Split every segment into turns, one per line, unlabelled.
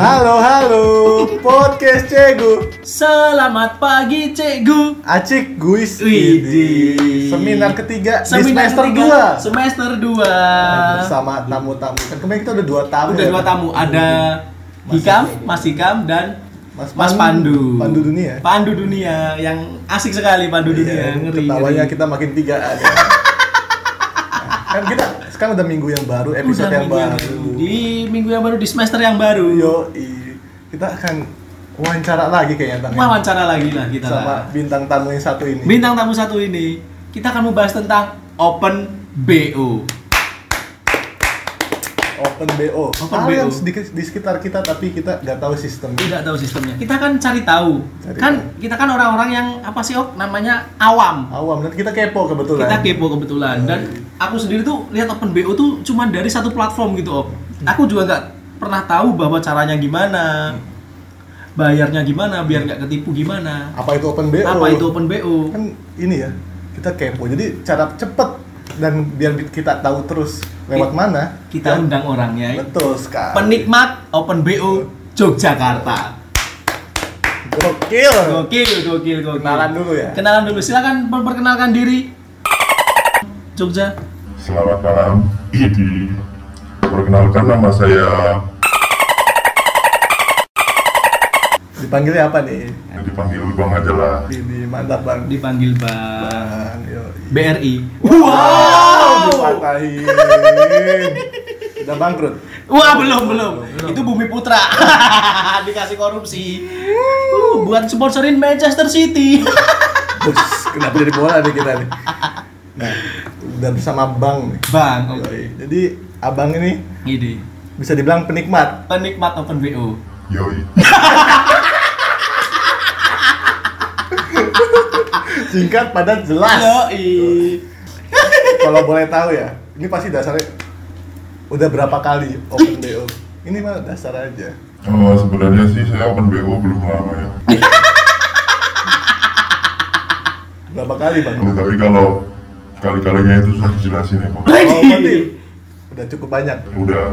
Halo, halo, podcast cegu,
Selamat pagi cikgu.
acik guis,
Widih.
seminar ketiga
Seminar
di semester
ketiga,
dua,
Semester 2.
sama tamu-tamu. Kan kemarin kita udah dua tamu.
Udah
ya,
dua
Pak?
tamu, ada
Mas
Hikam,
Pandu.
Mas Hikam dan
Mas,
Mas Pandu.
Pandu dunia.
Pandu dunia yang asik sekali Pandu
Iya,
dunia, ngeri.
ketawanya
ngeri.
kita makin tiga ada. Nah, kan kita sekarang udah minggu yang baru, episode
Udah
yang
minggu yang
baru. Iya.
Di minggu yang baru di semester yang baru.
Yo, kita akan wawancara lagi kayaknya Tang, ya?
Wawancara lagi lah kita.
sama bintang tamu yang satu ini.
Bintang tamu satu ini kita akan membahas tentang Open BO.
Open BO.
Open
Hal yang
BO.
sedikit di sekitar kita tapi kita nggak tahu sistemnya.
tidak tahu sistemnya kita kan cari tahu
Cari
kan
tahu.
kita kan orang-orang yang apa sih ok namanya awam
awam dan kita kepo kebetulan Iya,
kita kepo kebetulan dan aku sendiri tuh lihat open bo tuh cuma dari satu platform gitu ok
Hmm.
aku juga nggak pernah tahu bahwa caranya gimana bayarnya gimana biar nggak ketipu gimana
apa itu open BO
apa itu open bo
kan ini ya kita kepo jadi cara cepet dan biar kita tahu terus lewat
Ki-
mana
kita
ya.
undang orangnya
betul sekali
penikmat open bo Yogyakarta
gokil
gokil gokil
Iya.
gokil
kenalan dulu ya
kenalan dulu silakan memperkenalkan diri Jogja
Selamat malam, Idi. Perkenalkan nama saya
dipanggilnya apa nih
yang dipanggil Bang aja lah.
ini mantap bang Nah,
dipanggil bang
Bang, yoi.
BRI.
Wow, dipatahin. Udah bangkrut.
Wah belum belum. Itu Bumi Putra dikasih korupsi. Uh, buat sponsorin Manchester City.
Bus, kenapa jadi bola nih kita nih? Nah, udah bersama Bang nih.
bang, oke.
Yoi. Jadi Abang ini
Ini
bisa dibilang penikmat
penikmat Open BO.
Yoi.
singkat padat jelas
Halo,
kalau boleh tahu ya ini pasti dasarnya udah berapa kali open bo ini mah dasar aja
Eh, sebenarnya sih saya open BO belum lama ya.
berapa kali bang
Kalau- Tapi kalau kali-kalinya itu susah dijelasin ya, Pak.
oh, berarti udah cukup banyak
Udah.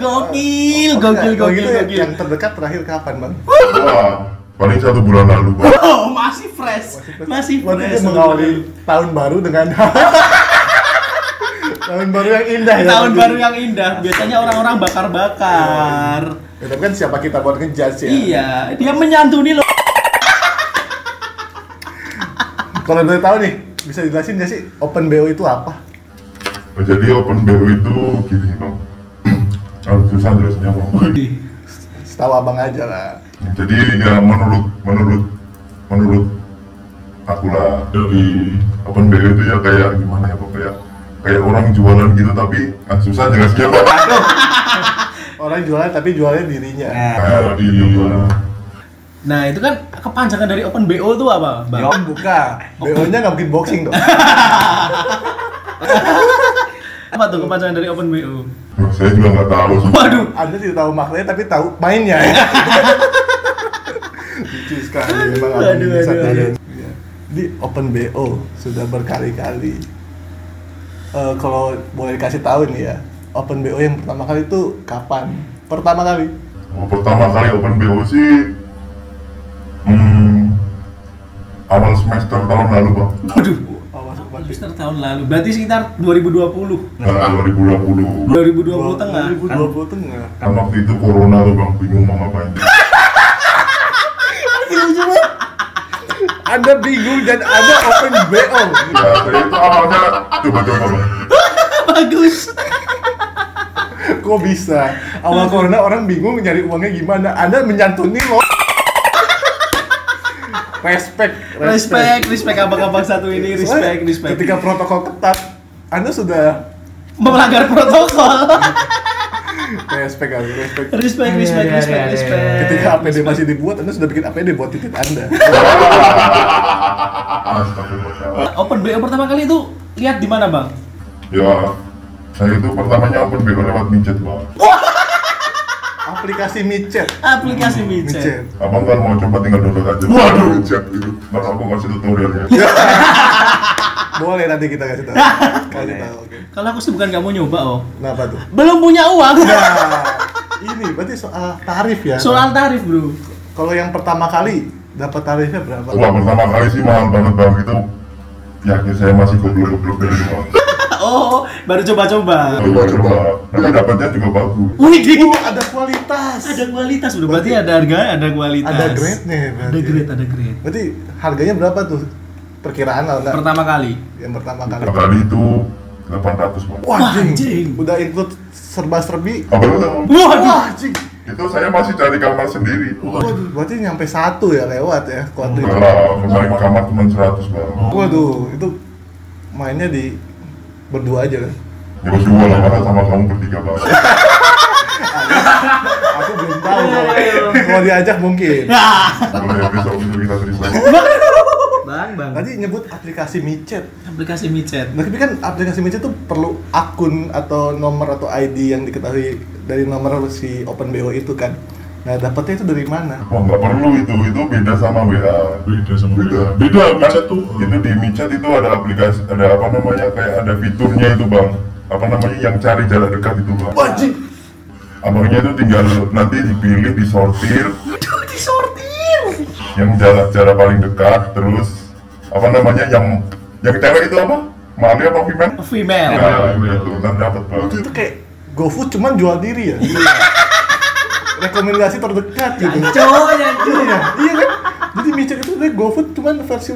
Gokil,
Oh, enggak.
gokil,
Kalau
gokil,
gitu ya,
gokil.
yang terdekat terakhir kapan bang
Wah, paling satu bulan lalu, Pak.
Oh, masih fresh. Masih
Waktu
fresh.
itu mengawali tahun baru dengan tahun baru yang indah ya
Eh, Tahun
Bang.
baru yang indah. Biasanya orang-orang bakar-bakar.
ya, tapi kan siapa kita buat ngejudge ya
Iya, dia menyantuni loh.
kalau boleh tahu nih bisa dijelasin nggak sih open bo itu apa
Jadi open BO itu gini, Bang. Harus susah jelasnya, Bang.
setahu abang aja lah
Jadi ya menurut menurut menurut aku lah dari open BO itu ya kayak gimana ya Pak kayak kayak orang jualan gitu tapi ah, susah jelasnya Pak.
orang jualan tapi jualnya dirinya
Iya.
Kayak di
Nah, itu kan kepanjangan dari Open BO itu apa, Bang?
Om buka. BO-nya nggak mungkin boxing dong.
Apa tuh kepanjangan dari Open BO?
Nah, saya juga nggak tahu sih.
Waduh.
Anda tidak tahu maknanya tapi tahu mainnya. Ya. Lucu sekali memang
Aduh,
abang ini
aduh,
satu
aduh.
yang- Iya. Di Open BO sudah berkali-kali. Eh, kalau boleh kasih tahu nih ya, Open BO yang pertama kali itu kapan? Pertama kali.
Oh, pertama kali open BO sih hmm, awal semester tahun lalu Pak.
Waduh.
Awas
Semester tahun lalu. Berarti sekitar 2020.
Nah, 2020.
2020 tengah.
2020 tengah.
Kan waktu itu corona tuh Bang bingung mau ngapain.
Anda bingung dan ada Open BO.
Ya, saya itu awalnya coba-coba Bang.
Bagus.
Kok bisa? Awal corona orang bingung nyari uangnya gimana. Anda menyantuni lo. respect,
Respect, respect abang-abang satu ini, respect,
Soalnya
respect.
Ketika protokol ketat, Anda sudah
melanggar protokol.
respect, Anda respect.
Respect, respect, respect, respect.
iya, Ketika APD masih dibuat, Anda sudah bikin APD buat titik Anda.
Ah, Astagfirullah.
Open BO pertama kali itu lihat di mana, Bang?
Ya, saya itu pertamanya open BO lewat micet bang.
Aplikasi micet, Hmm,
Aplikasi Micet.
micet.
Abang kan mau coba tinggal download aja. Waduh, micet gitu. Baru aku kasih tutorialnya.
Boleh nanti kita kasih tahu. Kasih tahu. oke.
Kalau aku sih bukan nggak mau nyoba, oh.
Kenapa tuh?
Belum punya uang.
Nah, ini berarti soal tarif ya
Soal tarif bro.
kalau yang pertama kali dapat tarifnya berapa
Wah pertama kali sih mahal banget bang itu yakin saya masih goblok-goblok dari rumah.
Oh, baru coba-coba.
Coba-coba, tapi dapatnya juga bagus.
Wih,
Wih,
gini.
ada kualitas
ada kualitas bro. Berarti ada harga, ada kualitas.
ada grade nya
Ada grade, ada grade.
berarti harganya berapa tuh perkiraan lah Nak.
Pertama kali.
yang pertama kali
Pertama kali itu 800
wah
bang.
Wah,
jing.
jing.
udah include serba serbi
Apalagi Bang?
Waduh.
wah jing
itu saya masih cari kamar sendiri.
Waduh, berarti nyampe satu ya lewat ya kuat itu.
Kalau mencari kamar cuma 100 bang.
Waduh, itu mainnya di berdua aja kan.
Ya pasti gue lamaran sama kamu bertiga bang.
Aku belum tahu kalau kalau diajak mungkin.
Ah.
Boleh ya besok itu kita terima.
Bang, bang.
Tadi nyebut aplikasi micet.
Aplikasi micet.
Nah, tapi kan aplikasi micet tuh perlu akun atau nomor atau ID yang diketahui dari nomor si OpenBO itu kan. Nah, dapatnya itu dari mana?
Wah Oh, nggak perlu itu, itu beda sama WA.
beda sama beda
Beda, beda kan?
micet tuh
Itu di Micet itu ada aplikasi, ada apa namanya kayak ada fiturnya itu bang. Apa namanya yang cari jarak dekat itu bang.
Wajib.
Abangnya itu tinggal nanti dipilih, disortir,
Aduh, disortir.
yang jarak-jarak paling dekat, terus apa namanya yang yang cewek itu apa? Mali apa Vimen?
Female.
Nah, itu
iya.
nanti dapat bang.
Itu kayak GoFood cuman jual diri ya. Rekomendasi terdekat gitu.
Cowok ya.
Iya, iya kan? Jadi micet itu sebenarnya GoFood cuman versi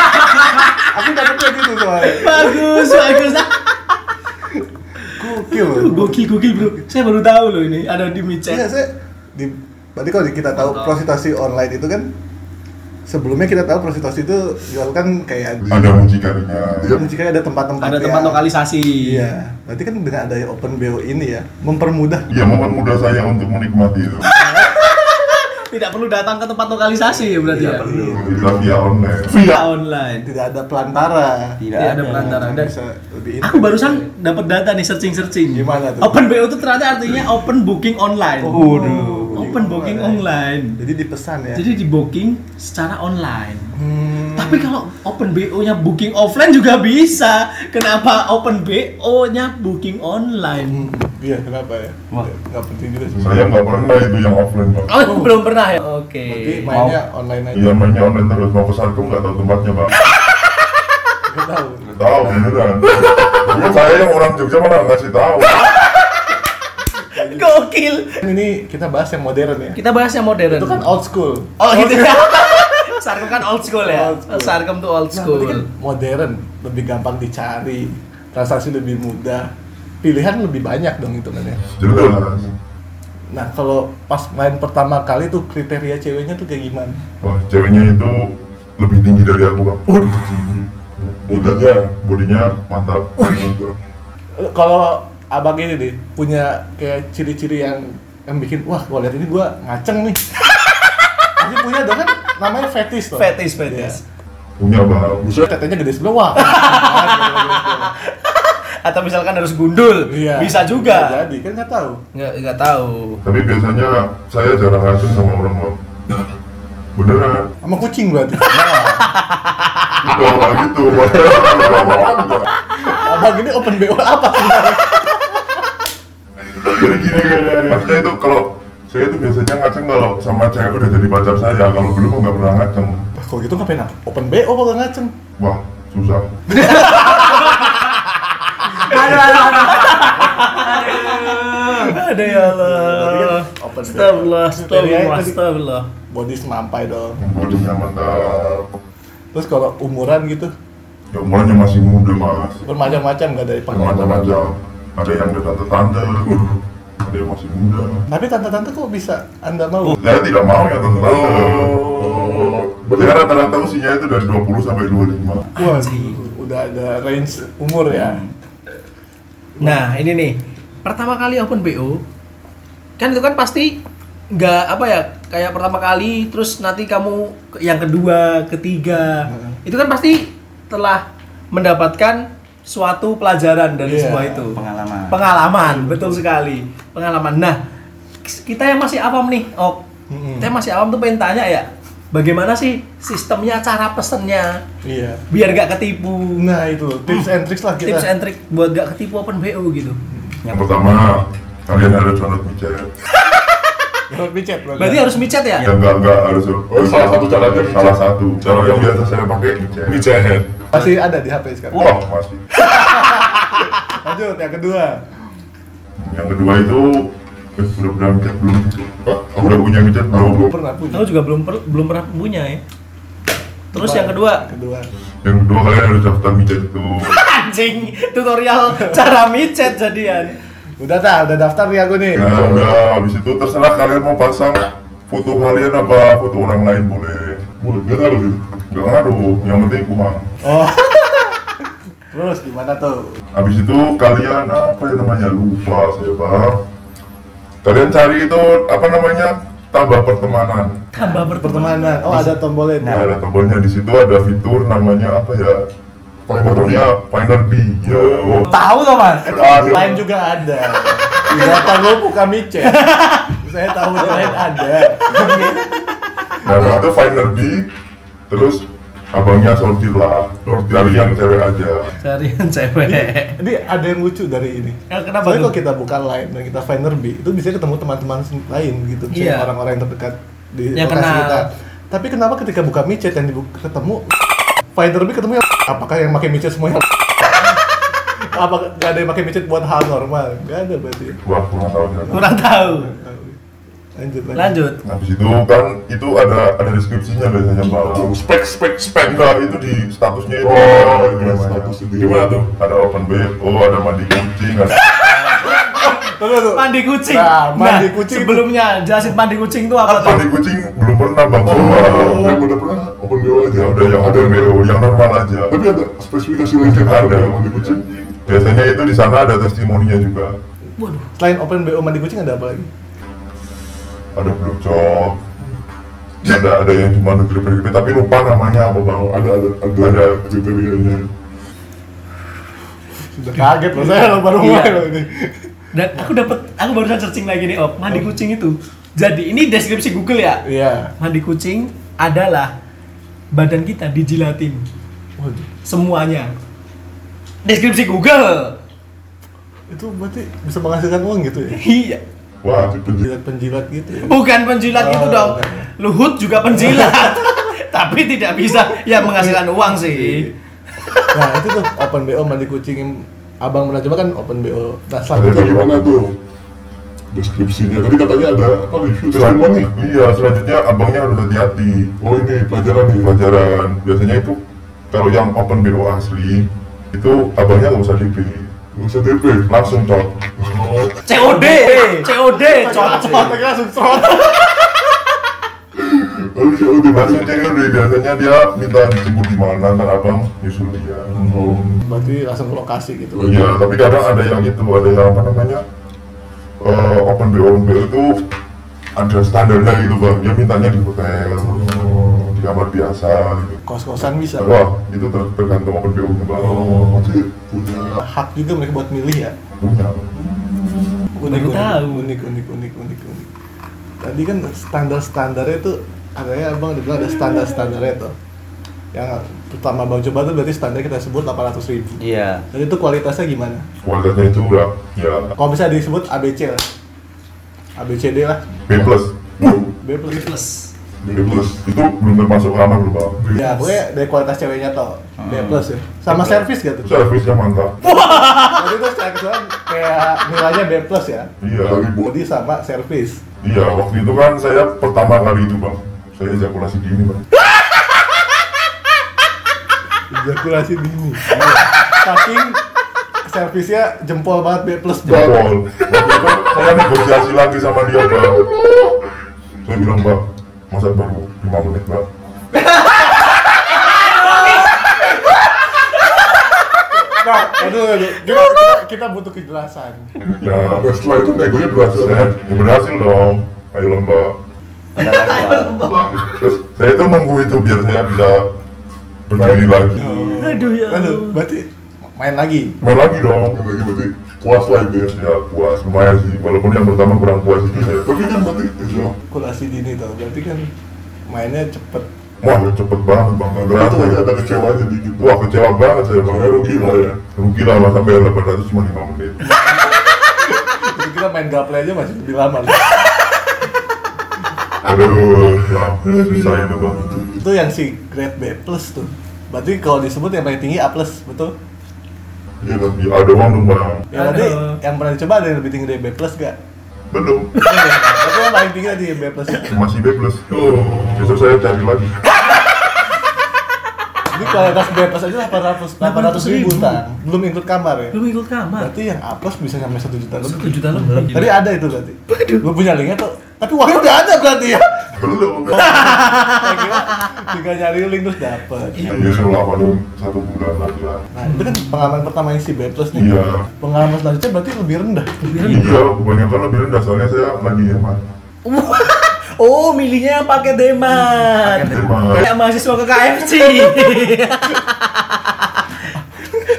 Aku dapetnya gitu soalnya
Bagus, bagus. Ah,
Gokil loh.
Gokil, gokil bro. Saya baru tahu loh ini ada di
Iya,
micet.
saya di berarti kalau kita tahu
Tahu.
prostitusi online itu kan sebelumnya kita tahu prostitusi itu jualkan kayak
Ada mucikarinya.
Iya.
jika ada tempat-tempat
Ada
yang-
tempat lokalisasi.
Iya, berarti kan dengan adanya open BO ini ya mempermudah
Ya mempermudah saya untuk menikmati itu.
Tidak perlu datang ke tempat lokalisasi ya berarti ya.
Kita via online.
Via online.
tidak ada pelantara.
Tidak ada pelantara dan
bisa lebih
aku barusan dapat data nih searching searching.
Gimana tuh?
Open BO itu ternyata artinya open booking online.
Waduh.
Open booking online.
Jadi dipesan ya.
Jadi di booking secara online.
Hmm.
Tapi kalau open BO-nya booking offline juga bisa. Kenapa open BO-nya booking online?
Hmm, Iya, kenapa ya? Wah, nggak penting juga sih.
Saya nggak pernah itu yang offline bang.
Oh, belum pernah ya?
Berarti
Oke.
mainnya online aja.
Iya mainnya online terus mau ke Sarko nggak tahu tempatnya bang.
Nggak tahu.
Tahu beneran. Cuma saya yang orang Jogja malah ngasih tahu.
Gokil.
Kan Ini kita bahas yang modern ya.
Kita bahas yang modern.
Itu kan old school.
Oh, gitu ya. Sarkem kan old school ya.
Old school.
Sarkem tuh old
Nah, berarti kan
school.
modern, lebih gampang dicari, transaksi lebih mudah, pilihan lebih banyak dong itu kan ya.
Jelas.
Nah, kalau pas main pertama kali tuh kriteria ceweknya tuh kayak gimana?
Wah ceweknya itu lebih tinggi dari aku bang. Bodinya, bodinya mantap.
Eh, Kalau abang ini nih punya kayak ciri-ciri yang yang bikin wah gua lihat ini gua ngaceng nih. Tapi punya dong kan namanya fetish loh.
Fetish, fetish.
Punya bang.
Iya. Tetenya gede sebelah wah.
Atau misalkan harus gundul.
Iya.
Bisa juga.
Jadi kan nggak tahu.
Nggak, nggak tahu.
Tapi biasanya saya jarang ngacung sama orang bang. Beneran.
Sama kucing berarti.
Itu gitu, orang itu.
Abang ini open BO apa?
Jadi gini kan, maksudnya itu kalau saya itu biasanya ngaceng kalau sama cewek udah jadi pacar saya, kalau belum nggak pernah ngaceng.
Kalau gitu ngapain aku? Open BO kalau ngaceng.
Wah susah.
Ada ya Allah.
kan Open ya,
Astagfirullah, astagfirullah,
Tadi-
astagfirullah.
Body semampai dong.
Bodinya mantap.
Terus kalau umuran gitu
Ya umurnya masih muda mas.
bermacam-macam nggak dari
Iya.
pengalaman.
Macam-macam. Ada yang udah tante-tante, ada yang masih muda.
Tapi tante-tante kok bisa Anda mau?
Oh.
Saya tidak mau ya tante-tante.
Oh.
Saya rata-rata usianya itu dari 20 sampai 25.
Wah, udah ada range umur ya.
Hmm. Nah, ini nih. Pertama kali open BO kan itu kan pasti nggak apa ya kayak pertama kali terus nanti kamu ke- yang kedua ketiga
Mm-hmm.
itu kan pasti telah mendapatkan suatu pelajaran dari
Iya,
semua itu
pengalaman.
pengalaman betul sekali pengalaman nah kita yang masih awam nih ok
Mm-mm.
kita yang masih awam tuh pengen tanya ya bagaimana sih sistemnya cara pesennya
Iya.
biar nggak ketipu
Nah, itu loh, tips and tricks lah kita.
tips and trick buat gak ketipu open BO gitu.
Yang pertama kalian harus salut micet
Dapat micet berarti.
Berarti harus micet ya?
ya enggak enggak harus
Oh, salah satu caranya micet.
salah satu cara yang biasa saya pakai micet
Mijahat.
masih ada di HP sekarang.
wah masih
Lanjut yang kedua.
yang kedua itu eh, sudah pernah micet belum Hah? aku udah punya micet belum
Gue pernah punya.
Aku juga belum per- belum pernah punya ya. Terus yang kedua,
Kedua.
yang kedua kalian harus daftar micet itu
anjing tutorial cara micet jadian.
Udah tak, udah daftar nih aku nih.
nah udah habis itu terserah kalian mau pasang foto kalian apa foto orang lain boleh boleh gak ngaruh sih. gak ngaruh yang penting uang
Oh. Terus gimana tuh?
Habis itu kalian apa ya namanya lupa saya bang. Kalian cari itu apa namanya tambah pertemanan.
Tambah berteman.
Pertemanan. Oh ada tombolnya. itu.
Nah, Ada tombolnya di situ ada fitur namanya apa ya? Finder Finder B. Ya. oh.
Tahu toh, Mas?
Aduh.
Lain juga ada. Data gue buka micet. Saya tahu yang lain ada.
Nah, habis itu Finder B terus abangnya sortir lah. Sortir
Iya.
yang cewek aja.
Cari yang cewek.
Ini ada yang lucu dari ini.
Ya, kenapa
Soalnya
tuh?
kalau kita buka line dan kita finder B, itu bisa ketemu teman-teman sen- lain gitu, misalnya
Iya.
orang-orang yang terdekat di
Yang
lokasi
kenal.
kita. Tapi kenapa ketika buka micet yang dibuka ketemu finder B ketemu yang apakah yang pakai micet semuanya? Apa nggak ada yang pakai micet buat hal normal? Nggak ada berarti.
Wah, kurang tahu ya.
Kurang tahu.
Lanjut lanjut.
Lanjut.
Habis itu kan itu ada ada deskripsinya biasanya bang.
Spek spek spek.
Enggak, itu di statusnya itu.
Oh,
ada
iya,
namanya.
status itu.
Gimana tuh? Ada open BO, ada mandi kucing, ada
Tunggu, tunggu.
Mandi kucing.
Nah, mandi kucing itu-
Sebelumnya jelasin mandi kucing itu apa tuh?
mandi kucing belum pernah bang. Oh,
Yang udah pernah open BO aja.
Ya udah yang ada BO, yang normal aja.
Tapi ada spesifikasi lain yang
Ada
ada yang mandi kucing.
Biasanya itu di sana ada testimoninya juga.
Waduh.
Selain open BO mandi kucing ada apa lagi?
Ada blue job. Ada ada yang cuma negeri-negeri tapi lupa namanya apa bang.
Ada ada ada ada
Ada.
kriterianya.
Sudah kaget loh saya loh, baru
Iya.
mulai loh ini.
Dan aku dapat aku barusan searching lagi nih, Op. Mandi kucing itu. Jadi ini deskripsi Google ya.
Iya.
Mandi kucing adalah badan kita dijilatin
Waduh.
semuanya. Deskripsi Google.
Itu berarti bisa menghasilkan uang gitu ya?
Iya.
Wah, itu penjilat.
Penjilat-penjilat gitu ya?
Bukan penjilat
Oh,
gitu
itu dong.
bukan.
Luhut juga penjilat. Tapi tidak bisa ya menghasilkan uang sih.
Nah itu tuh open BO mandi kucing yang abang pernah coba kan open BO Nah
Itu
selanjutnya
gimana tuh? Deskripsinya. Tadi katanya ada apa review testimoni.
Selanjutnya, iya selanjutnya abangnya harus hati-hati.
Oh ini pelajaran nih.
Pelajaran biasanya itu kalau yang open BO asli itu abangnya nggak usah DP.
Nggak usah DP.
Langsung cot.
Oh,
COD, COD,
ya
cocok.
Otaknya langsung serot
harus ya udah masuk.
Maksudnya kan dia- biasanya dia minta dijemput di mana ntar abang nyusul dia.
Oh,
Berarti langsung ke lokasi gitu
Oh,
Iya, tapi kadang ada yang itu, ada yang apa namanya eh, open BO open BO itu ada standarnya gitu bang. Dia mintanya di hotel, di kamar biasa. Gitu.
Kos-kosan bisa
Wah, itu ter- tergantung open BO nya bang.
oh, jadi punya
Hak juga mereka buat milih ya
Punya.
Baru
Unik, unik,
tahu.
unik, unik, unik, unik, unik Tadi kan standar-standarnya tuh Katanya abang dibilang ada standar-standarnya tuh Yang pertama abang coba tuh berarti standar kita sebut 800 ribu
Iya.
Dan itu kualitasnya gimana?
Kualitasnya itu udah ya
Kalau bisa disebut ABC lah ABCD lah
B plus.
B plus
Plus.
B plus itu belum termasuk ramah belum bang. Iya,
Ya, pokoknya dari kualitas ceweknya toh B plus ya Sama servis gak tuh?
Servisnya mantap.
Jadi itu secara keseluruhan kayak nilainya B plus ya.
Iya.
dari buat
Body sama service.
Iya, waktu itu kan saya pertama kali itu bang. Saya ejakulasi dini bang.
Ejakulasi dini. Iya. Saking servisnya jempol banget B plus
Iya,
banget.
jempol waktu itu saya negosiasi lagi sama dia bang saya bilang bang masa baru 5 menit bang
Nah, aduh, aduh. Kita, kita, kita butuh kejelasan.
ya
Nah, setelah itu negonya berhasil
saya ya berhasil dong ayo lomba terus saya itu nunggu itu biar saya bisa berdiri
Ya.
lagi
Aduh ya.
Aduh, berarti main lagi.
main lagi dong
lagi berarti puas lah itu ya
ya puas lumayan sih walaupun yang pertama kurang puas itu saya
tapi kan berarti ya
Ejakulasi dini tuh. Berarti kan mainnya cepet.
wah cepet banget bang nggak
berarti
berasa
lagi
ya.
ada kecewanya dikit
wah kecewa banget saya bang
makanya rugi lah ya
rugi lah mas sampai 800 cuma 5 menit
Jadi kita main gaple aja masih lebih lama loh.
Aduh, ya, susah itu bang.
itu yang si grade B plus tuh berarti kalau disebut yang paling tinggi A plus betul
Iya, Bang. ya, ada uang dong bang.
yang tadi
Aduh.
Ya, yang pernah dicoba ada yang lebih tinggi dari B plus gak
Belum,
itu yang paling tinggi tadi B plus
masih B plus. Oh, besok saya cari lagi.
ini kalau kelas B plus aja 800 800 ribu
800.000.
tang belum ikut kamar ya
Lu ikut kamar.
berarti yang A plus bisa nyampe 1 juta
Satu
lebih
juta lebih.
tadi ada itu berarti lu punya linknya tuh tapi uangnya udah ada berarti ya
Belum.
Saya kira tinggal nyari link terus dapet
Iya, setelah paling satu bulan lagi lah.
nah itu kan pengalaman pertama yang si B plus nih
Iya.
pengalaman selanjutnya berarti lebih rendah
Iya, kebanyakan lebih rendah soalnya saya lagi hemat.
Oh, milihnya yang pakai demat.
Hemat.
Kayak mahasiswa ke KFC.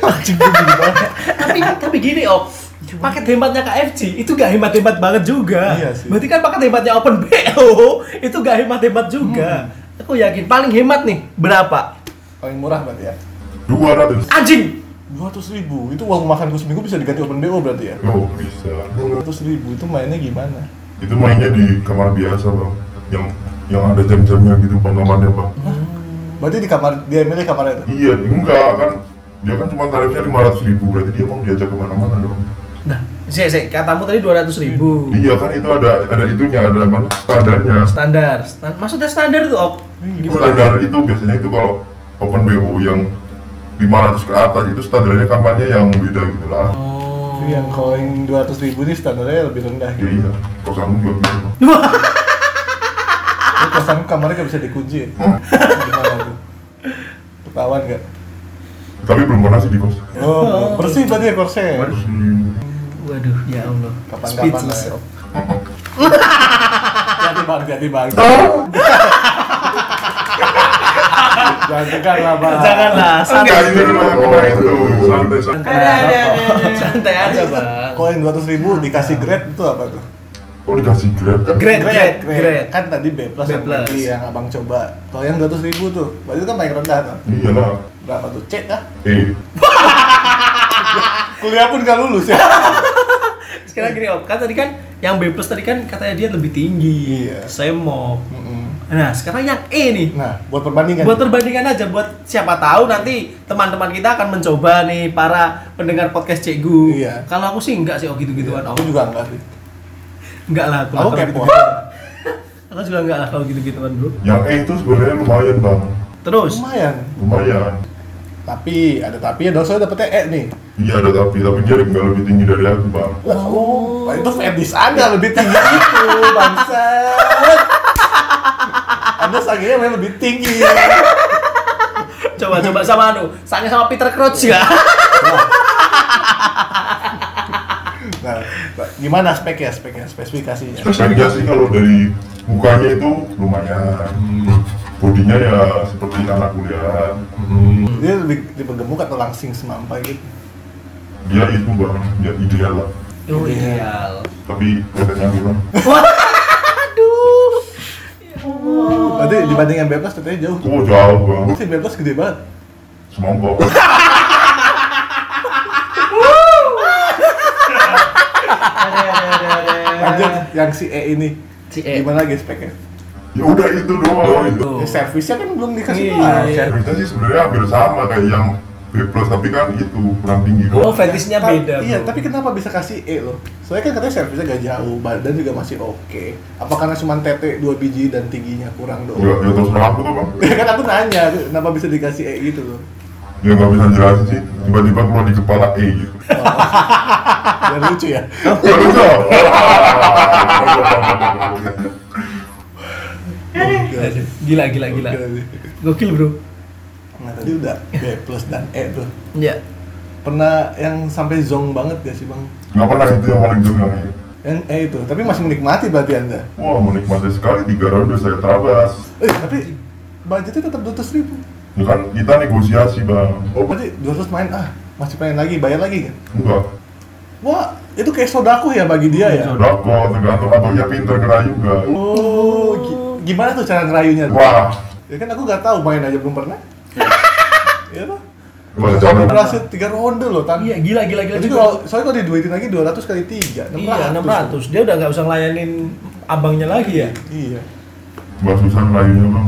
anjing gue jadi banget
tapi tapi gini, oh, Op. Paket hematnya KFC itu gak hemat-hemat banget juga.
Iya sih.
Berarti kan paket hematnya Open BO itu gak hemat-hemat juga.
Hmm.
Aku yakin paling hemat nih berapa?
paling murah berarti ya
Dua ratus.
Anjing.
200 ribu itu uang makan gue seminggu bisa diganti open BO berarti ya
Oh, bisa.
200 ribu itu mainnya gimana
Itu mainnya di kamar biasa bang, yang yang ada jam-jamnya gitu bang kamarnya bang.
berarti di kamar dia milih kamarnya itu
Iya, enggak kan dia kan cuma tarifnya lima ratus ribu berarti dia mau diajak kemana-mana dong.
Nah, saya saya katamu tadi 200.000 ribu.
Iya kan itu ada ada itunya ada mana standarnya.
Standar. Stan- Maksudnya standar tuh, Op.
Hmm.
Standar itu biasanya itu kalau open BO yang 500 ke atas itu standarnya kamarnya yang beda gitu lah.
Oh.
Jadi yang Iya, kalau yang 200 ribu ini standarnya lebih rendah
Iya,
gitu
iya. Kosan juga gitu. Bang.
Terus kosan lu kamarnya gak bisa dikunci ya? gimana tuh ketahuan gak?
Tapi belum pernah sih di kos.
oh bersih tadi ya korsnya
Waduh, ya Allah.
kapan-kapan lah ya hati bang, hati bang jangan tekan lah bang
Janganlah, Nah, santai.
Kayak gitu kemarin itu santai santai.
Santai aja, Bang. Ah.
kalau yang 200 ribu dikasih grade itu apa tuh?
Oh dikasih grade kan?
Grade, grade, grade.
Kan tadi B plus
B
yang
plus.
tadi yang abang coba. Kalau yang 200 ribu tuh, berarti itu kan paling rendah kan?
Iya lah.
Berapa tuh? C kah?
Eh,
Kuliah pun gak lulus ya?
Sekarang gini, Om. Kan tadi kan yang B plus tadi kan katanya dia lebih tinggi.
Iya.
Saya mau.
Mm-mm.
Nah, sekarang yang E nih.
nah, buat perbandingan.
Buat perbandingan aja buat siapa tahu nanti teman-teman kita akan mencoba nih para pendengar podcast Cikgu.
Iya.
Kalau aku sih enggak sih oh gitu-gituan
aku
Om.
juga enggak sih.
Enggak lah aku.
Aku
kalau
kepo.
gitu-gitu. Aku juga enggak lah kalau gitu-gituan, Bro.
yang E itu sebenarnya lumayan bang,
Terus
Lumayan.
lumayan.
Tapi ada tapi ya dong, soalnya dapetnya E nih.
Iya ada tapi tapi dia nggak lebih tinggi dari aku bang.
Lah, oh, itu Febis Anda lebih tinggi itu, bangsa. Anda sakitnya memang lebih tinggi.
coba-coba sama anu, sangnya sama Peter Crouch ya.
Nah, gimana speknya, speknya, spesifikasinya?
Terus harga sih kalau dari mukanya itu lumayan. Bodinya ya seperti anak kuliah. Hmm.
Dia lebih tipe gemuk atau langsing semampai gitu.
Dia itu bang, dia ideal lah.
Yo ideal.
Tapi katanya kurang.
Aduh.
Berarti
Oh.
dibanding yang bebas katanya jauh.
Oh jauh bang,
Si bebas gede banget.
semongkok.
Lanjut yang si E ini.
Eh. Si E.
Gimana lagi speknya?
Ya udah itu doang. Itu.
Ya, servisnya kan belum dikasih
Iya,
tahu.
iya.
Kita sih sebenarnya hampir sama kayak yang B plus tapi kan itu kurang tinggi
Oh,
doang.
fetishnya
Ta-
beda.
Iya,
Bro.
tapi kenapa bisa kasih E loh? Soalnya kan katanya servisnya gak jauh, badan juga masih oke. Apa karena cuma TT 2 biji dan tingginya kurang
Ya,
doang?
ya terus terang aku tuh bang.
Ya kan aku nanya, kenapa bisa dikasih E gitu loh?
Ya nggak bisa jelasin sih. Tiba-tiba keluar di kepala E gitu.
Biar lucu ya.
Ya lucu.
Gokil.
Gila gila Iya, gila.
Gokil.
Gokil, Bro.
Nah tadi udah B plus dan E tuh.
Iya.
Pernah yang sampai zong banget gak sih bang?
Nggak pernah itu yang paling jurnalnya.
Yang E itu, tapi masih menikmati berarti anda.
Wah menikmati sekali tiga ronde saya terabas.
Eh, tapi budgetnya tetap 200 ribu.
Ya kan kita negosiasi bang.
Oh, berarti 200 main ah, masih pengen lagi, bayar lagi kan?
Enggak.
Wah, itu kayak sodako ya bagi dia ya?
Udah kok tergantung abangnya pinter ngerayu nggak.
Oh, gi- gimana tuh cara ngerayunya?
Wah.
Ya kan aku nggak tahu main aja belum pernah. Iya lah.
wacana
berhasil tiga ronde loh tan
Iya, gila gila gila.
Jadi
Cukup.
kalau soalnya kalau diduitin lagi 200 kali 3, 600.
Iya, 600. Dia udah nggak usah layanin abangnya lagi ya.
Iya.
Mbak Susan layunya bang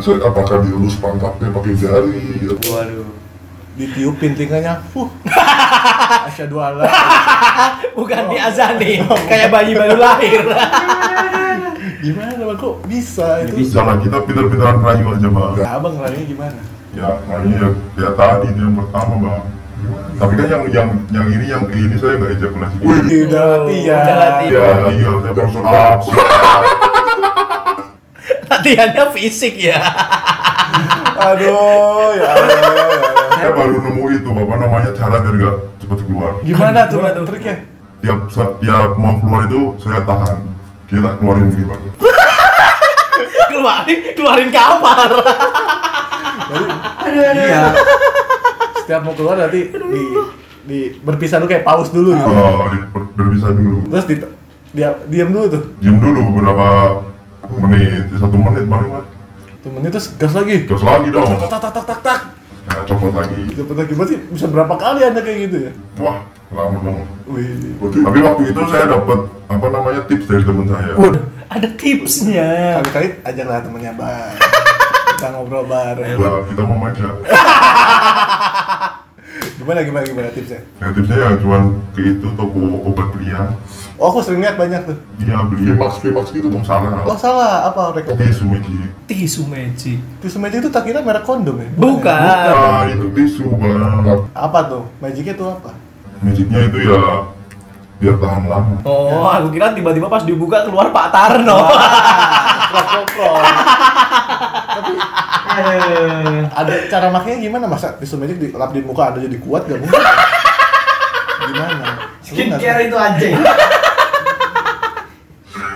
Saya apakah diurus pantatnya pakai jari atau
Waduh.
Ditiupin tingkanya, fuh. Asyhadu alla.
Bukan diazani, Oh. kayak bayi baru lahir.
Gimana bang kok bisa itu?
Jangan kita pintar-pintaran rayu aja bang
Nah, abang larinya gimana?
Oh,
Ya rayu ya, ya tadi itu yang pertama bang Tapi kan yang yang yang ini yang ini saya nggak ejakulasi
Wih, udah
Oh,
latihan.
udah latihan.
Ya iya saya langsung up
Latihannya fisik ya.
Aduh, ya Allah. ya Allah.
Saya baru nemu itu apa namanya cara biar nggak cepet keluar
Gimana tuh
Gimana
bang
tuh?
triknya?
Tiap tiap mau keluar itu saya tahan Kita keluarin gini bang
Keluarin, keluarin kamar.
Iya. Setiap mau keluar nanti di di berpisah dulu kayak paus dulu gitu.
Oh, di- ber- berpisah dulu
Terus di dia diam dulu tuh.
Diam dulu beberapa menit Satu menit paling lah
Temennya terus gas lagi.
Terus lagi dong
Tak tak tak tak tak tak.
Nah, copot lagi
Itu pernah gimana sih? Bisa berapa kali anda kayak gitu ya?
Wah, lama dong.
Wih.
Tapi waktu itu saya dapat apa namanya tips dari teman saya.
Ada tipsnya.
Kali-kali ajaklah temennya bang. Kita ngobrol bareng.
Wah, kita mau manja.
Gimana gimana gimana tipsnya?
Nah, tipsnya ya cuman ke itu toko obat belian.
Oh, aku sering lihat banyak tuh.
Dia beli Vimax, Vimax gitu dong salah.
Oh salah apa rekom?
Tisu Miki.
Tisu magic.
Tisu magic itu tak kira merek kondom ya?
Bukan.
Ah, itu tisu bang.
Apa tuh? Magicnya tuh apa?
Magicnya itu ya biar tahan lama.
Oh, aku kira tiba-tiba pas dibuka keluar Pak Tarno.
Prok-prok. Ada cara makanya gimana masa tisu magic dilap di muka ada jadi kuat gak mungkin? Gimana? Seru nggak sih?
Skincare itu anjing.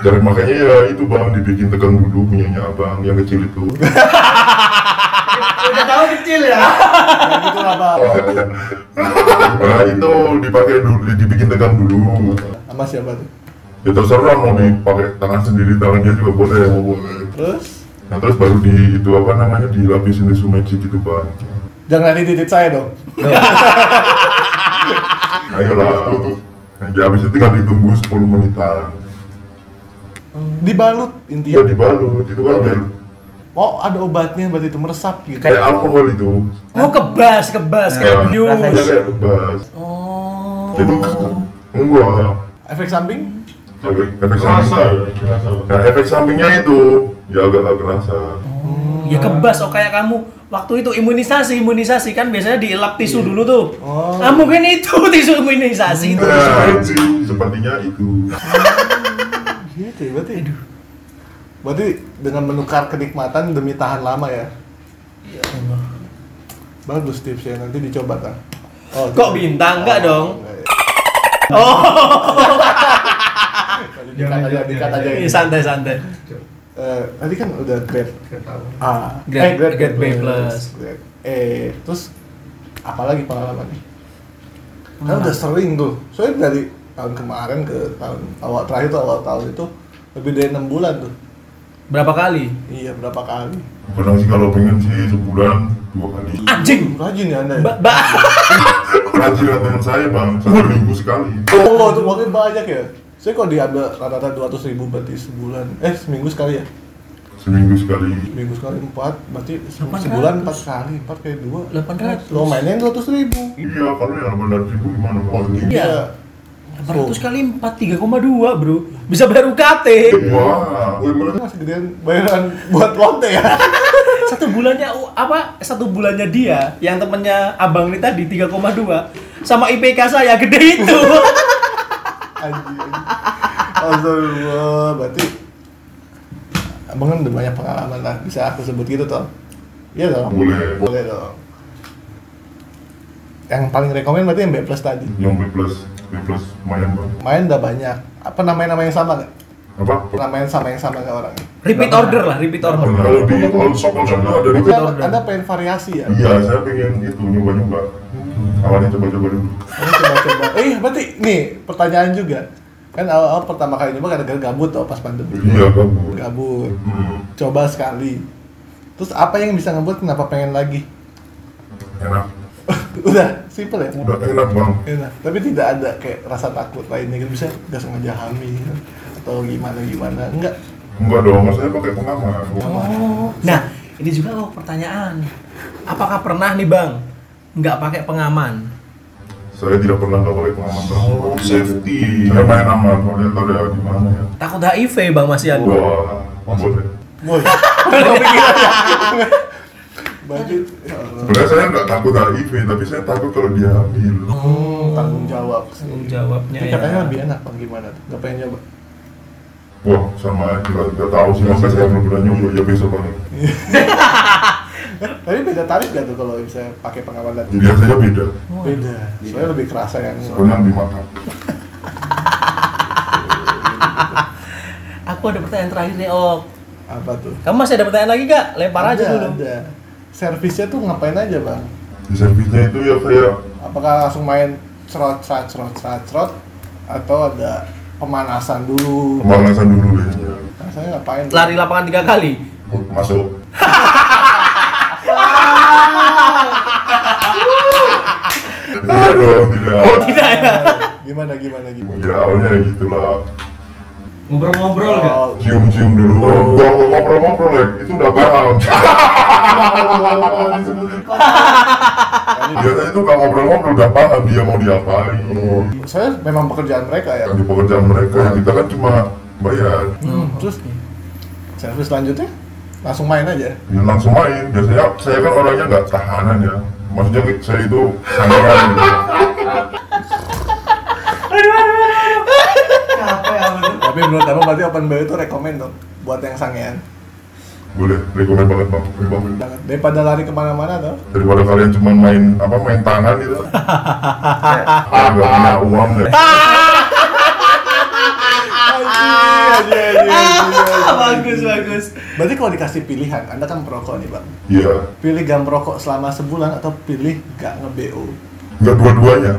Dari makanya ya itu bang dibikin tekan dulu punyanya abang yang kecil itu.
Udah tahu kecil ya.
Ya gitu lah bang.
nah itu dipakai dulu, dibikin tekan dulu.
Sama siapa tuh?
Ya terserah mau dipakai tangan sendiri, tangan dia juga boleh, mau boleh.
Terus?
Nah terus baru di itu apa namanya dilapisin tisu magic gitu bang.
Jangan nanti titik saya dong.
Ayolah. Nah, ya, habis itu kan ditunggu 10 menitan.
Dibalut
Iya
intinya.
dibalut itu kan biar
Oh ada obatnya berarti itu meresap gitu.
kayak alkohol itu.
Oh, kebas, kebas,
Ya,
kayak bius.
kayak kebas.
Oh.
Jadi enggak.
Efek samping?
Efek efek samping. Nah efek sampingnya itu ya agak agak kerasa.
Ya kebas oh kayak kamu waktu itu imunisasi imunisasi kan biasanya dielap tisu dulu tuh.
Oh.
Nah, mungkin itu tisu imunisasi itu.
Nah, sepertinya itu.
Gitu ya, berarti. Berarti dengan menukar kenikmatan demi tahan lama ya. Bagus tipsnya nanti dicoba kan. Oh,
Kok bintang enggak dong?
Oh. dikat aja, dikat aja.
Iya, santai santai.
Eh, tadi kan udah grade A,
Grade-
eh, grade,
grade B plus.
Grade E. terus apalagi pengalamannya? Kan udah sering tuh. Soalnya dari tahun kemarin ke tahun awal terakhir tuh awal tahun itu lebih dari enam bulan tuh.
Berapa kali?
Iya berapa kali?
Kadang sih kalau pengen sih sebulan dua kali.
Anjing.
Rajin ya anda.
Mbak Mbak.
Kerajinan tangan saya bang, satu minggu sekali.
Oh, itu makin banyak ya. Saya kok diambil rata-rata 200 ribu berarti sebulan. Eh, seminggu sekali ya?
Seminggu sekali.
Seminggu sekali 4, berarti se- sebulan 4 kali. 4 kali 2.
800.
Lo mainnya 200 ribu.
Iya, kalau yang benar ribu gimana bang?
Iya. 800 kali 4 3,2, Bro. Bisa bayar UKT.
Iya. Wah,
Itu masih gedean bayaran buat lonte ya?
Satu bulannya u- apa? Satu bulannya dia yang temennya Abang ini tadi 3,2 sama IPK saya gede itu.
Anjing. Astagfirullah, berarti Abang kan udah banyak pengalaman lah, bisa aku sebut gitu toh? Iya dong?
Boleh.
Boleh dong Yang paling rekomen berarti yang B plus tadi
yang B plus, B plus lumayan bang.
Main udah banyak, apa nama-nama yang sama gak?
Apa? Nah,
Namanya sama yang sama kayak orangnya
repeat order lah, repeat order.
Kalau di all shop all shop itu ada di.
Tapi anda, anda pengen variasi ya?
Iya, saya pengen itu nyoba nyoba. Awalnya coba-coba dulu.
Anda coba-coba Eh berarti nih pertanyaan juga Kan awal-awal pertama kali nyoba gara-gara gabut tuh pas pandemi
Iya, Hmm, kamu.
Gabut Coba sekali Terus apa yang bisa ngebuat kenapa pengen lagi?
Enak.
udah simple ya
udah enak bang
Enak. tapi tidak ada kayak rasa takut lainnya gitu bisa nggak sengaja hamil atau gimana gimana enggak
enggak dong maksudnya pakai pengaman
oh.
Nah, ini juga loh pertanyaan. Apakah pernah nih bang nggak pakai pengaman?
saya tidak pernah nggak pakai pengaman bang
Oh, safety.
saya main aman kalau lihat ada gimana ya
Takut HIV bang Mas Ian.
udah maksudnya
boy Nggak kepikiran ya. baju ya Allah.
sebenarnya saya nggak takut HIV tapi saya takut kalau dia hamil
Hmm, tanggung jawab
Tanggung jawabnya
Tapi
ya.
katanya lebih enak apa gimana tuh nggak pengen nyoba
wah sama aja nggak nggak tahu sih makanya saya belum pernah nyoba ya besok bang
Eh, tapi beda tarif gak tuh kalau misalnya pakai pengaman dan
biasanya beda
beda soalnya lebih kerasa yang
soalnya lebih mahal
Aku ada pertanyaan terakhir nih Ok.
apa tuh
Kamu masih ada pertanyaan lagi gak? Lempar aja
Ada,
dulu.
ada. servisnya tuh ngapain aja bang
di servisnya itu ya kayak
apakah langsung main cerot cerot cerot cerot cerot atau ada pemanasan dulu Nah,
pemanasan dulu ya. biasanya
saya ngapain
Lari lapangan tiga kali.
masuk tidak dong Oh, tidak
Tidak ya.
gimana gimana gimana
ya awalnya ya gitulah
Ngobrol-ngobrol gak?
Oh,
cium-cium dulu kalau ngobrol-ngobrol ya itu udah paham biasanya itu kalau ngobrol-ngobrol udah paham dia mau diapain
saya memang pekerjaan mereka ya
kan di pekerjaan mereka ya kita kan cuma bayar
Hmm, terus servis selanjutnya langsung main aja
ya langsung main biasanya saya kan orangnya nggak tahanan ya maksudnya saya itu sandaran gitu.
Capek amat.
tapi menurut kamu berarti open bio itu rekomend dong buat yang sangean
boleh rekomend banget bang Boleh banget.
Banget. daripada lari kemana-mana tuh
daripada kalian cuma main apa main tangan gitu ah nggak punya uang ya
bagus bagus.
berarti kalau dikasih pilihan anda kan perokok nih bang
iya
pilih gak merokok selama sebulan atau pilih gak nge-BO
nggak dua-duanya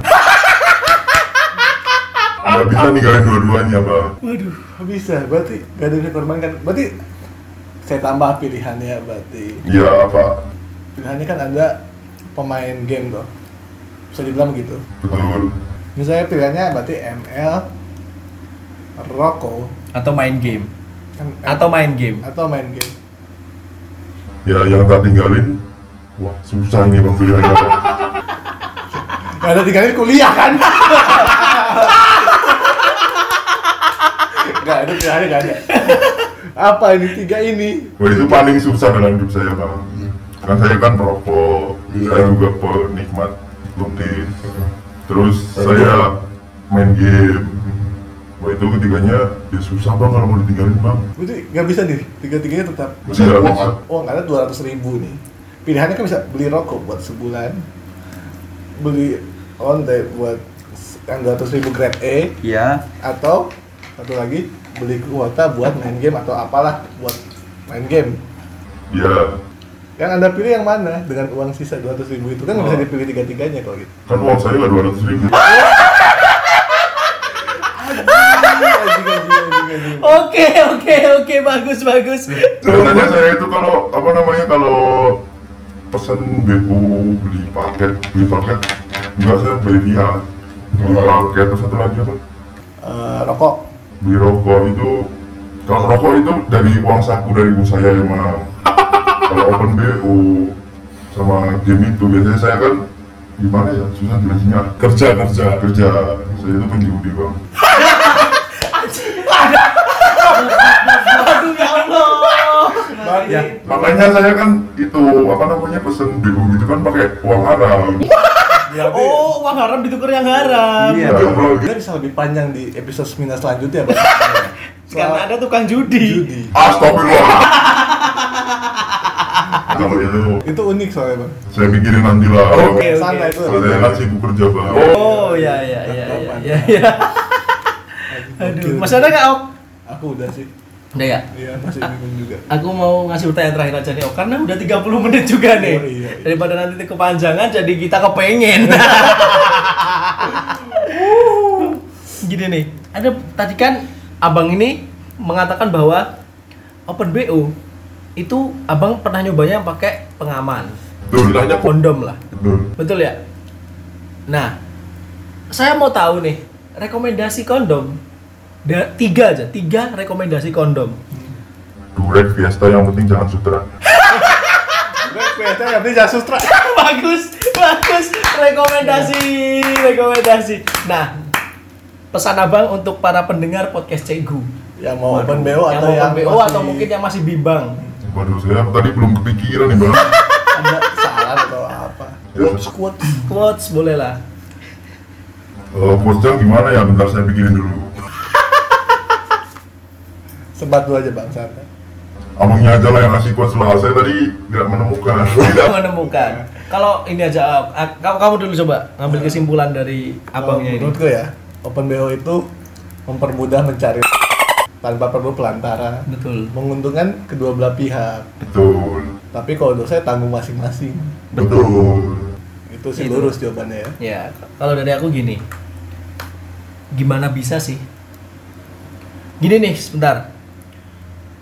nggak bisa ninggalin dua-duanya bang
Waduh.
bisa berarti gak ada yang dikorbankan berarti saya tambah pilihannya berarti
iya apa
pilihannya kan anda pemain game tuh bisa dibilang begitu
betul
misalnya pilihannya berarti ML rokok
Atau main game.
kan-
Atau main game.
atau main game
ya yang tak tinggalin wah susah ini bang pilihannya Bang.
Gak ada tinggalin kuliah kan? gak ada pilihannya gak ada apa ini tiga ini
Wah itu paling susah dalam hidup saya bang Kan saya kan perokok, saya juga penikmat kopi Terus saya main game Wah itu ketiganya ya susah bang kalau mau ditinggalin bang
berarti gak bisa nih tiga-tiganya tetap
Masih gak bisa.
uang Oh, ada dua ratus ribu nih pilihannya kan bisa beli rokok buat sebulan beli onde buat yang dua ratus ribu grade A
Iya.
atau satu lagi beli kuota buat main game atau apalah buat main game
Ya
yang anda pilih yang mana dengan uang sisa dua ratus ribu itu kan nggak
Oh.
bisa dipilih tiga-tiganya kalau gitu
kan uang saya gak 200 ribu
Anjing, anjing, anjing, anjing.
Oke oke oke bagus bagus.
Sebenarnya saya itu kalau apa namanya kalau pesen BU beli paket beli paket enggak saya beli via beli paket terus satu lagi apa
Eh, rokok
beli rokok itu kalau rokok itu dari uang saku dari ibu saya emang kalau open BU sama game itu biasanya saya kan gimana ya susah jelasinnya kerja kerja kerja saya itu penjudi bang
Aduh ya Allah.
ya
makanya saya kan itu apa namanya pesen BU gitu kan pakai uang haram
berarti
Oh uang haram ditukar yang haram.
Iya.
Ngobrol gitu.
kita bisa lebih panjang di episode seminar selanjutnya Bang.
Karena ada tukang judi.
judi
Astagfirullah kalau itu
itu unik soalnya bang
saya pikirin nanti lah
Oke, oke.
santai itu
kalau saya kan sibuk kerja bang
Oh
Iya,
ya ya ya ya ya. ya. Aduh. Masih ada nggak Ok?
aku udah sih
Ada ya.
iya masih bingung juga
Aku mau ngasih pertanyaan terakhir aja nih, oh, karena udah 30 menit juga nih.
Oh, iya, iya.
Daripada nanti kepanjangan jadi kita kepengen. Gini nih, ada tadi kan Abang ini mengatakan bahwa Open BO itu Abang pernah nyobanya pakai pengaman,
tuh bilangnya
kondom lah.
betul
Betul ya? Nah, saya mau tahu nih rekomendasi kondom. Da- tiga aja, tiga rekomendasi kondom.
Durek Fiesta yang penting jangan sutra.
Gue kayaknya yang beli jas sutra.
bagus, bagus. Rekomendasi, rekomendasi. Nah, pesan abang untuk para pendengar podcast Cegu.
Yang mau open BO
Yang
atau
mau
Oh, yang
BO atau
masih
mungkin yang masih bimbang.
Waduh, saya tadi belum kepikiran nih bang.
ada salah atau apa?
Ya,
Squat.
Quotes boleh lah.
eh, quotesnya gimana ya? Bentar saya pikirin dulu.
Sebat dulu aja bang Santa.
Abangnya aja lah yang ngasih quotes lah. Saya tadi tidak menemukan. Tidak.
menemukan. Kalau ini aja, ah, kamu kamu dulu coba ngambil kesimpulan dari abangnya ini.
Menurutku ya, open BO itu mempermudah mencari tanpa perlu pelantara.
Betul.
Menguntungkan kedua belah pihak.
Betul.
Tapi kalau dosa ya tanggung masing-masing.
Betul.
Itu sih
Gitu.
lurus jawabannya ya.
Ya, kalau dari aku gini. Gimana bisa sih? Gini nih, sebentar.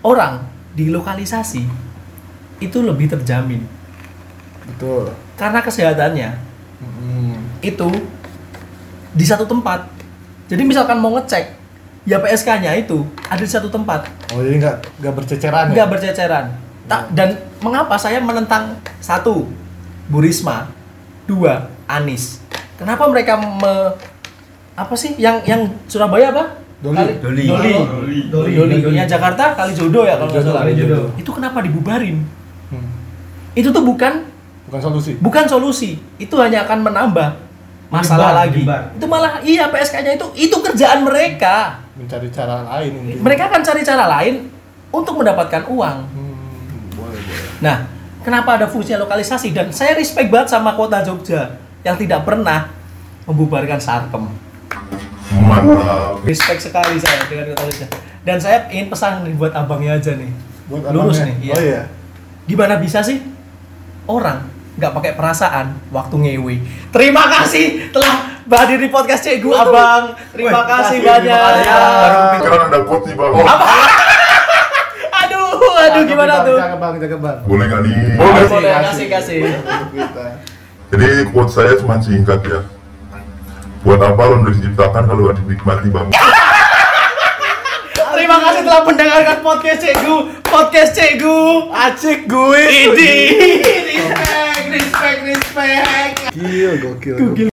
Orang di lokalisasi itu lebih terjamin
Betul.
karena kesehatannya
Mm-mm.
itu di satu tempat. Jadi misalkan mau ngecek ya PSK-nya itu ada di satu tempat,
Oh jadi nggak nggak berceceran ya?
nggak berceceran. Tak dan mengapa saya menentang satu Bu Risma, dua Anis. Kenapa mereka me, apa sih yang yang Surabaya apa?
Doli.
Kali- Doli.
Doli. Doli.
Doli.
Doli.
Doli. Ya Jakarta kali jodoh ya kalau nggak
Jodoh,
salah.
jodoh.
Itu kenapa dibubarin?
Hmm.
Itu tuh bukan
Bukan solusi.
bukan solusi. Itu hanya akan menambah masalah
Menyebar,
lagi.
menyebar.
Itu malah iya PSK-nya itu itu kerjaan mereka.
Mencari cara lain. intinya.
Mereka akan cari cara lain untuk mendapatkan uang.
Hmm, boleh boleh.
Nah, kenapa ada fungsinya lokalisasi dan saya respect banget sama kota Jogja yang tidak pernah membubarkan sarkem.
Mantap.
Respect sekali saya dengan kota Jogja. Dan saya ingin pesan nih buat abangnya aja nih.
Buat
Lurus
abangnya.
nih, iya.
Oh iya.
Gimana bisa sih orang nggak pakai perasaan waktu ngewe. Terima kasih telah hadir di podcast Cegu Abang. Terima
Wih,
kasih
terima kasih,
banyak.
terima kasih.
Baru pikiran ada quotes nih
Oh,
bang.
Aduh, aduh gimana
Cakep,
tuh?
Bang, Cakep bang, cakep bang.
Boleh nggak nih?
Boleh,
Kasih,
boleh, kasih, kasih.
Untuk kita.
Jadi quotes saya cuma singkat ya. Buat apa lo udah diciptakan kalau nggak dinikmati bang?
Terima kasih telah mendengarkan podcast Cegu, podcast Cegu.
Acik gue.
Ini respect, respect, respect.
Gokil, gokil.